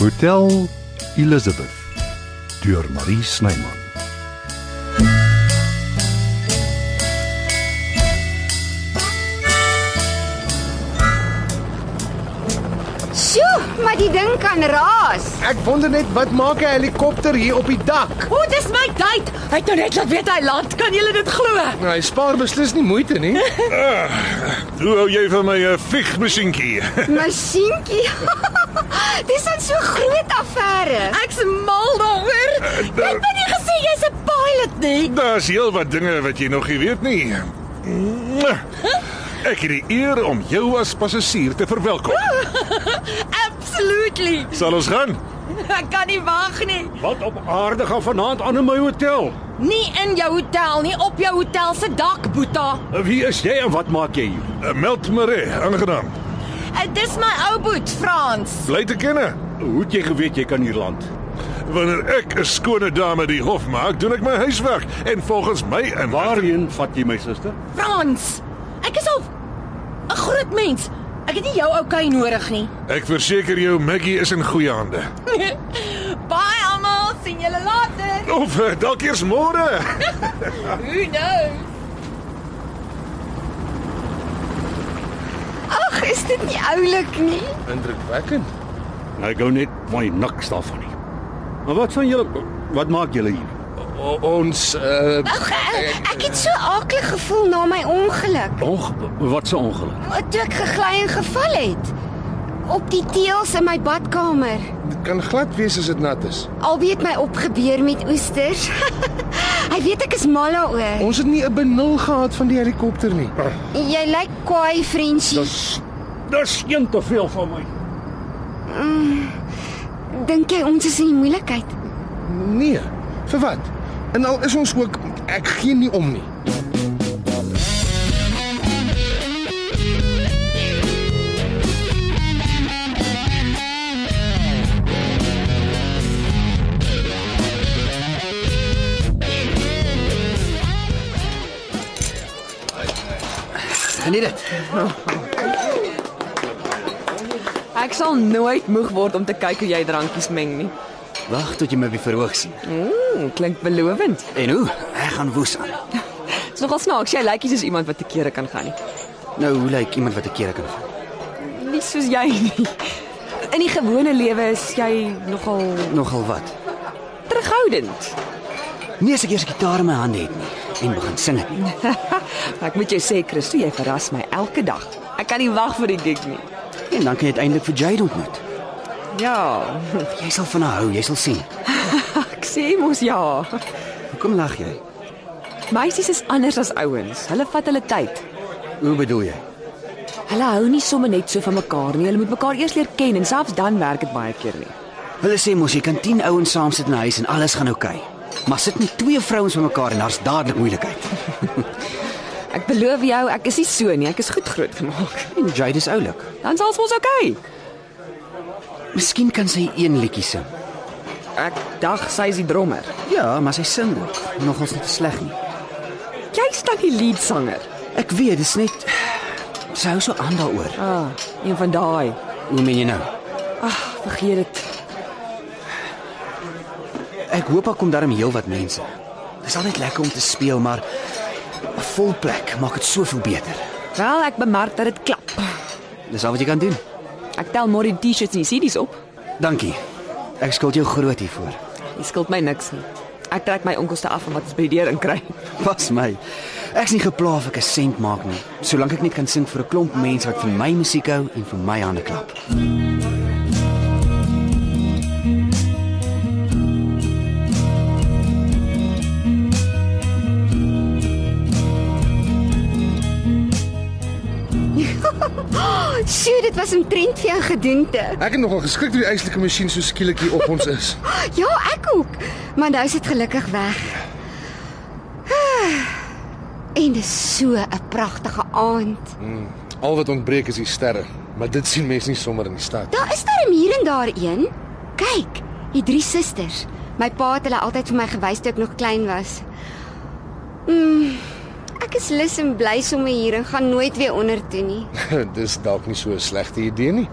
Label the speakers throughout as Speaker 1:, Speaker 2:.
Speaker 1: Hotel Elizabeth deur Marie Snyman.
Speaker 2: Sjoe, maar die ding kan raas.
Speaker 3: Ek wonder net wat maak 'n helikopter hier op die dak?
Speaker 4: O, dis my tyd. Hy het nou net laat weet hy land. Kan julle dit glo?
Speaker 3: Nou, hy spaar beslis nie moeite nie.
Speaker 5: Hoe hou jy van my uh, vigmasjienkie?
Speaker 2: Masjienkie. Dis 'n so groot affære.
Speaker 4: Ek's mal daaroor. Ek
Speaker 5: da-
Speaker 4: het nie gesê jy's 'n pilot nie.
Speaker 5: Daar's heelwat dinge wat jy nog nie weet nie. Ek het die eer om jou as passasier te verwelkom.
Speaker 4: Absolutely.
Speaker 5: Sal ons gaan?
Speaker 4: Ek kan nie wag nie.
Speaker 5: Wat op aarde gaan vanaand aan in my hotel?
Speaker 4: Nie in jou hotel nie, op jou hotel se dak, Boeta.
Speaker 6: Nou,
Speaker 5: Wie is jy en wat maak jy hier? Uh, Meld Maree, aangenaam.
Speaker 4: Eh, Dis my ou boet, Frans.
Speaker 5: Bly te kenne.
Speaker 6: Hoe het jy geweet jy kan hier land?
Speaker 5: Wanneer ek 'n skone dame die hof maak, doen ek my huiswerk en volgens my en
Speaker 6: Waarheen vat jy my suster?
Speaker 4: Frans. Ek is al 'n groot mens. Ek het nie jou okay nodig nie.
Speaker 5: Ek verseker jou Maggie is in goeie hande.
Speaker 4: Bye almal, sien julle later.
Speaker 5: Of eh, dalk eers môre.
Speaker 4: Who knows?
Speaker 2: Ag, is dit nie oulik nie?
Speaker 3: Indrukwekkend.
Speaker 6: Nou, Ek gou net my niks daarvan nie. Maar wat van julle wat maak julle hier?
Speaker 3: O, ons uh
Speaker 2: Ag, eh, ek het so aaklig gevoel na my ongeluk.
Speaker 6: Och, wat 'n ongeluk.
Speaker 2: Toe ek gegly en geval het op die teels in my badkamer.
Speaker 3: dit kan glad wees as dit nat is.
Speaker 2: Albeit my opgebeur met oesters. Hy weet ek is mal daaroor.
Speaker 3: Ons het nie 'n benul gehad van die helikopter nie.
Speaker 5: Ah.
Speaker 2: Jy lyk kwaai, Frenchie.
Speaker 6: Dis dis een te veel van my.
Speaker 2: Dink jy ons is in die moeilikheid?
Speaker 3: Nee. Vir wat? En al is ons ook ek gee nie om nie.
Speaker 7: Ek sal nooit moeg word om te kyk hoe jy drankies meng nie.
Speaker 8: Wag tot jy my weer verhoog sien.
Speaker 7: Mm, klink belovend.
Speaker 8: En hoe? Ek gaan woes aan.
Speaker 7: Dit's nogal snaaks, jy lyk nie soos iemand wat te kere kan gaan nie.
Speaker 8: Nou hoe lyk iemand wat 'n keer kan vat?
Speaker 7: Nie soos jy nie. In die gewone lewe is jy nogal
Speaker 8: Nogal wat.
Speaker 7: terughoudend.
Speaker 8: Nee, as ek eers 'n gitaar in my hande het nie en begin sing ek. nie.
Speaker 7: ek moet jou sê, Christo, jy verras my elke dag. Ek kan nie wag vir die gig nie.
Speaker 8: En dan kan jy uiteindelik vir Jade ontmoet.
Speaker 7: Ja,
Speaker 8: Jy sal van haar hou, jy sal sien.
Speaker 7: ek sê mos ja.
Speaker 8: Hoekom lag jy?
Speaker 7: Meisies is anders as ouens. Hulle vat hulle tyd.
Speaker 8: Hoe bedoel jy?
Speaker 7: Hulle hou nie sommer net so van mekaar nie. Hulle moet mekaar eers leer ken en selfs dan werk dit baie keer nie.
Speaker 8: Hulle sê mos jy kan 10 ouens saam sit in 'n huis en alles gaan oukei. Okay. Maar sit nie twee vrouens bymekaar en daar's dadelik moeilikheid.
Speaker 7: Ek beloof jou, ek is nie so nie. Ek is goed grootgemaak.
Speaker 8: En Jade is oulik.
Speaker 7: Dan sal ons okay.
Speaker 8: Miskien kan sy een liedjie sing.
Speaker 7: Ek dag sy is die drummer.
Speaker 8: Ja, maar sy sing ook. Nogals nie sleg nie.
Speaker 7: Jy staan die leadsanger.
Speaker 8: Ek weet, dis net sy hou so aan daaroor.
Speaker 7: Ah, een van daai.
Speaker 8: Hoe meen jy nou?
Speaker 7: Ag, vergeet dit.
Speaker 8: Ek hoop daar kom darm heelwat mense. Dit is altyd lekker om te speel, maar 'n vol plek maak dit soveel beter.
Speaker 7: Wel, ek bemerk dat dit klap.
Speaker 8: Dis al wat jy kan doen.
Speaker 7: Ek tel môre die T-shirts en die CD's op.
Speaker 8: Dankie. Ek skuld jou groot hiervoor.
Speaker 7: Jy skuld my niks nie. Ek trek my onkoste af van wat ons by die deur inkry.
Speaker 8: Pas my. Ek's nie gepla of ek 'n sent maak nie, solank ek net kan sing vir 'n klomp mense wat van my musiek hou en vir my hande klap.
Speaker 2: Sjoe, dit was omtrent vir jou gedoente.
Speaker 3: Ek het nogal geskrik toe die yslike masjien so skielik hier op ons is.
Speaker 2: Ja, ek ook. Maar nou is dit gelukkig weg. En dis so 'n pragtige aand.
Speaker 3: Al wat ontbreek is die sterre, maar dit sien mense nie sommer in die stad.
Speaker 2: Daar is daar 'n muur en daar een. Kyk, die drie susters. My pa het hulle altyd vir my gewys toe ek nog klein was. Mm, ek is lus en bly sommer hier en gaan nooit weer onder toe nie.
Speaker 3: Dis dalk nie so 'n slegte idee nie.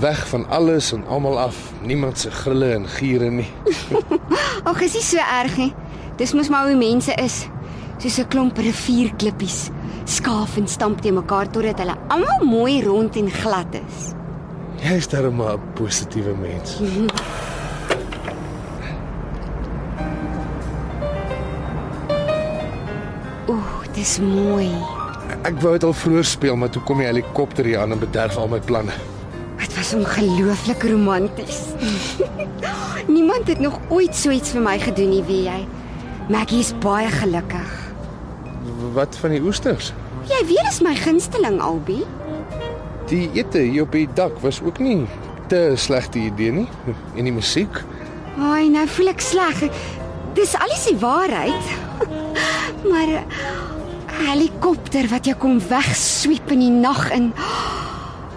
Speaker 9: Weg van alles en almal af. Niemand se grille en giere nie.
Speaker 10: Ag, is nie so erg nie. Dis mos maar hoe mense is. Soos 'n klomp rivierklippies. Skaaf en stamp teen mekaar totdat hulle almal mooi rond en glad is.
Speaker 9: Jy is darem maar 'n positiewe mens.
Speaker 10: Ooh, dis mooi.
Speaker 9: Ek wou dit al vroeër speel, maar toe kom die helikopter hier aan en bederf al my planne.
Speaker 10: Dit was ongelooflik romanties. Niemand het nog ooit so iets vir my gedoen nie, weet jy. Maggie is baie gelukkig.
Speaker 9: W- Wat van die oesters?
Speaker 10: Jy weet dis my gunsteling albie.
Speaker 9: Die ete hier op die dak was ook nie te slegte idee nie. En die musiek?
Speaker 10: Ai, nou voel ek sleg. Dis alles die waarheid. maar 'n helikopter wat jou kom wegswiep in die nag in.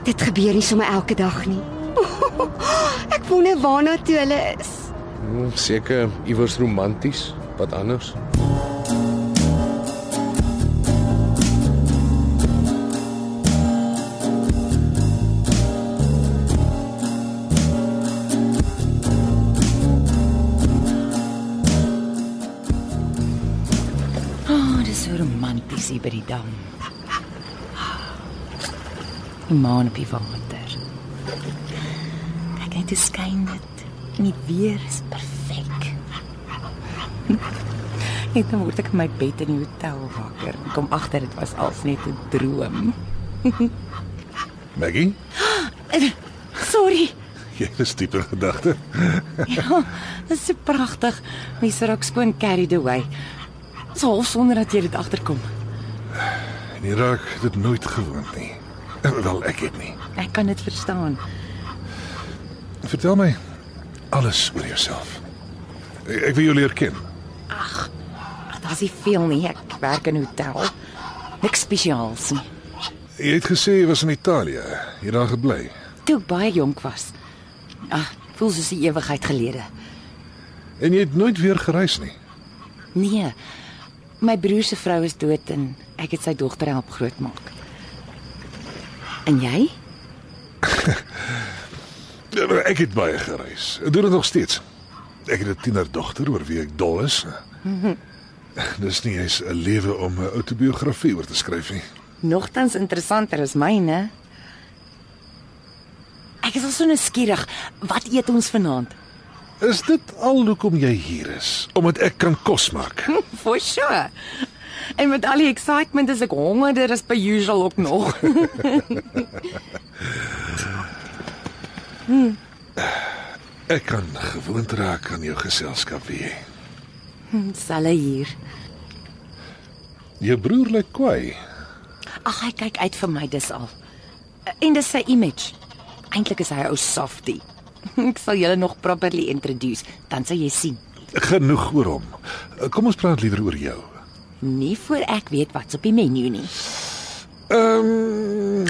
Speaker 10: Dit gebeur nie sommer elke dag nie. ek wonder waarna toe hulle is.
Speaker 9: Hmm, Seker iewers romanties, wat anders?
Speaker 2: Oh, dis so romanties hier by die dam. Die maan op die water. Kyk net hoe skyn dit. En die weer is perfek. Net dan word ek in my bed in die hotel wakker. Ek kom agter dit was als net 'n droom.
Speaker 5: Maggie,
Speaker 4: Sorry.
Speaker 5: jy is dieper gedagte.
Speaker 2: Ja, dit is so pragtig. Mense raak skoon carried away. Dis half sonder dat jy dit agterkom.
Speaker 5: En jy raak dit nooit gewoond nie. Eh, Wel, ek het nie.
Speaker 2: Ek kan dit verstaan.
Speaker 5: Vertel my alles oor jouself. Ek wil jou leer ken.
Speaker 2: Daar's nie veel nie. Ek werk in 'n hotel. Niks spesiaals nie.
Speaker 5: Jy het gesê jy was in Italië. Jy het daar gebly.
Speaker 2: Toe ek baie jonk was. Ag, voel soos 'n ewigheid gelede.
Speaker 5: En jy het nooit weer gereis nie.
Speaker 2: Nee. My broer se vrou is dood en ek het sy dogter help grootmaak. En jy?
Speaker 5: Ja, maar Ek het baie gereis. Ek doen dit nog steeds. Ek het 'n tienerdogter oor wie ek dol is. Mhm. Dis nie eens 'n lewe om 'n autobiografie oor te skryf nie.
Speaker 2: Nogtans interessanter as myne. Ek is al so nuuskierig. Wat eet ons vanaand?
Speaker 5: Is dit al hoekom jy hier is? Omdat ek kan kos maak.
Speaker 2: For sure. En met al die excitement is ek hongerder as per usual ook nog.
Speaker 5: Ek kan gewoond raak aan jou geselskap weer.
Speaker 2: Sal hy hier.
Speaker 5: Jou broer lyk kwaai.
Speaker 2: Ag, hy kyk uit vir my dis al. En dis sy image. Eintlik is hy 'n ou softie. Ek sal julle nog properly introduce, dan sal jy sien.
Speaker 5: Genoeg oor hom. Kom ons praat liewer oor jou.
Speaker 2: Nie voor ek weet wat's op die menu nie.
Speaker 5: Ehm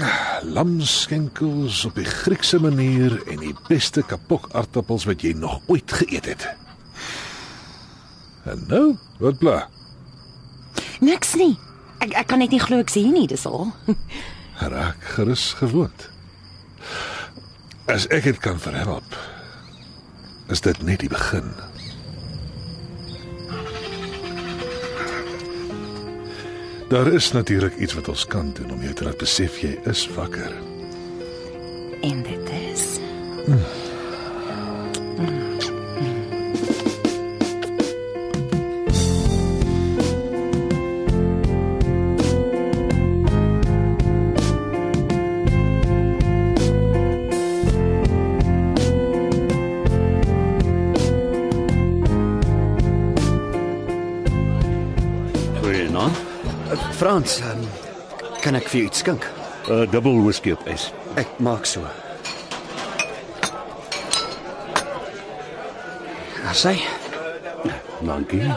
Speaker 5: lamskenkels op die Griekse manier en die beste kapokaartappels wat jy nog ooit geëet het. En nou, wat bla?
Speaker 2: Niks nie. Ek ek kan net nie glo ek sien nie, dis al.
Speaker 5: Raak gerus gewoond. As ek dit kan verhelp, is dit net die begin. Daar is natuurlik iets wat ons kan doen om jou te laat besef jy is wakker.
Speaker 2: En dit is
Speaker 6: Goeienaand.
Speaker 8: Frans, ehm, kan ek vir jou iets skink?
Speaker 6: 'n Eh, Dubbel whisky op ys.
Speaker 8: Ek maak so. Daar sy.
Speaker 6: Dankie.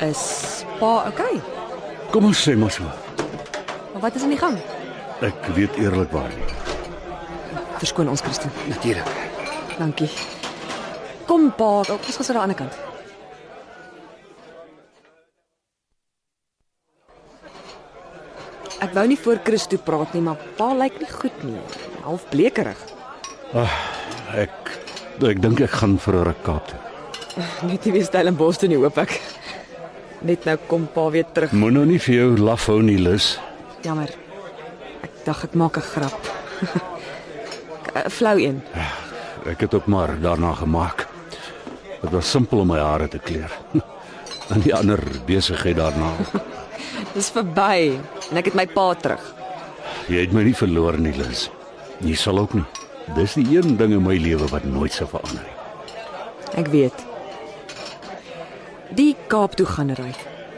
Speaker 4: 'n Spa, okay.
Speaker 6: Kom ons sê maar so.
Speaker 4: Maar wat is aan die gang?
Speaker 6: Ek weet eerlikwaar nie.
Speaker 7: Verskoon ons, Christel.
Speaker 8: Natuurlik.
Speaker 7: Dankie. Kom, pa, Oh, ook is gesit aan die ander kant. Ek wou nie voor Christo praat nie, maar pa lyk nie goed nie. Half blekerig.
Speaker 6: Ah, ek ek dink ek gaan vir 'n ruk Kaap toe.
Speaker 7: Net nie weer Stellenbosch toe nie, hoop ek. Net nou kom pa weer terug.
Speaker 6: Moet nou nie vir jou laf hou nie, Lis.
Speaker 7: Jammer. Ek dink ek maak 'n grap. 'n Flou een.
Speaker 6: Ek het ook maar daarna gemaak. Dit was simpel om my hare te kleur. en die ander besigheid daarna.
Speaker 7: Dis verby en ek het my pa terug.
Speaker 6: Jy het my nie verloor nie, Lis. Jy sal ook nie. Dis die een ding in my lewe wat nooit sal verander nie.
Speaker 7: Ek weet. Die Kaap toe gaan ry.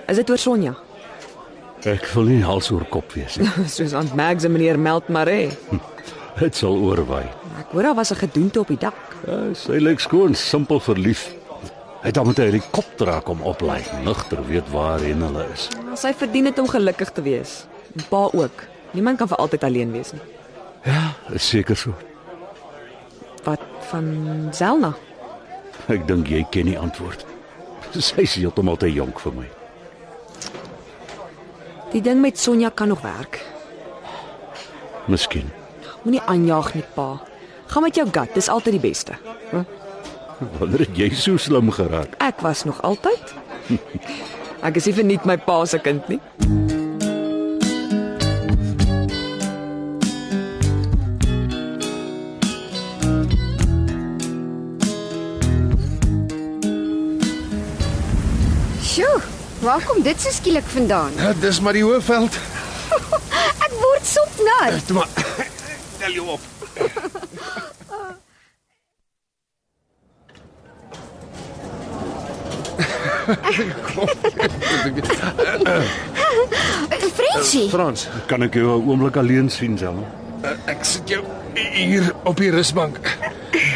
Speaker 7: Is dit oor Sonja?
Speaker 6: Ek wil nie hals oor kop wees nie.
Speaker 7: Soos aan Mags en meneer Meld Maree.
Speaker 6: Dit sal oorwaai.
Speaker 7: Ek hoor daar was 'n gedoente op die dak.
Speaker 6: Ja, sy lyk skoon, simpel verlief. Hy het dan met 'n helikopter raak om oplaai, nigter weet waarheen hulle is.
Speaker 7: Sy verdien dit om gelukkig te wees. En pa ook. Niemand kan vir altyd alleen wees nie.
Speaker 6: Ja, is seker so.
Speaker 7: Wat van Zelna?
Speaker 6: Ek dink jy ken die antwoord. Sy is heeltemal te jonk vir my.
Speaker 7: Die ding met Sonja kan nog werk.
Speaker 6: Miskien.
Speaker 7: Moenie aanjaag nie, pa. Gaan met jou gut, dis altyd die beste. Hm?
Speaker 6: Wonder het jy so slim geraak.
Speaker 7: Ek was nog altyd. Ek is nie verniet my pa se kind nie.
Speaker 10: Sjoe, waar kom dit so skielik vandaan?
Speaker 3: Ja, dis maar die Hoëveld.
Speaker 10: Ek word sopnat.
Speaker 3: Toe maar. Tel jou op.
Speaker 10: Frenchie,
Speaker 3: Frans,
Speaker 6: Kan ek jou 'n oomblik alleen sien, Selma?
Speaker 3: eh, ek sit jou hier op die rusbank.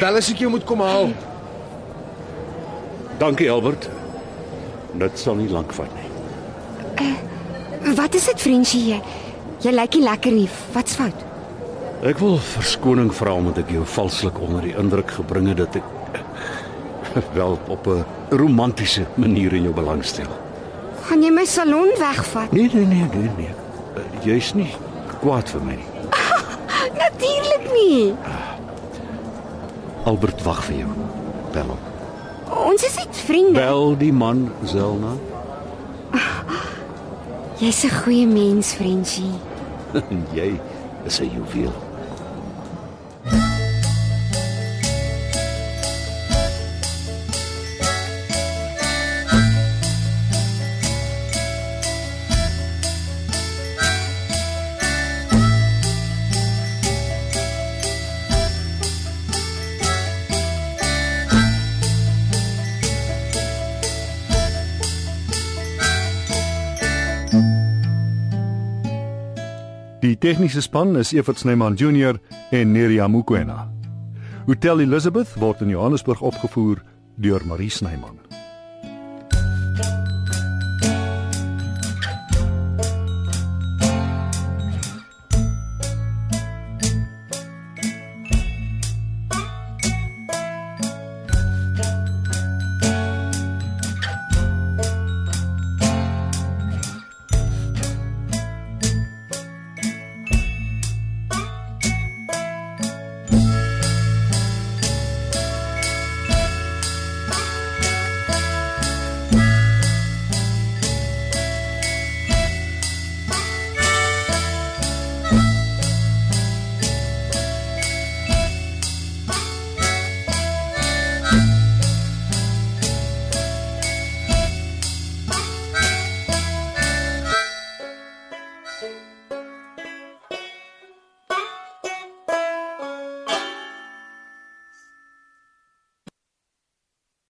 Speaker 3: Bel as ek jou moet kom haal.
Speaker 6: Dankie, Albert. Dit sal nie lank vat nie.
Speaker 10: wat is dit Frenchie? Jy, jy lyk nie lekker nie. Wat's fout?
Speaker 6: Ek wil verskoning vra omdat ek jou valslik onder die indruk gebring het dat ek wel op 'n romantiese manier in jou belangstel.
Speaker 10: Gaan jy my salon wegvat?
Speaker 6: Nee, nee, nee, nee, nee. Eh, Jy's nie kwaad vir my nie.
Speaker 10: Natuurlik nie.
Speaker 6: Albert wag vir jou. Bel hom.
Speaker 10: Ons is net vriende.
Speaker 6: Bel die man Zelna.
Speaker 10: Jy's 'n goeie mens, Frenchie.
Speaker 6: En jy is 'n juweel.
Speaker 11: Die tegniese span is Evert Snyman Junior en Neriya Mukwena. Hotel Elizabeth word in Johannesburg opgevoer deur Marie Snyman.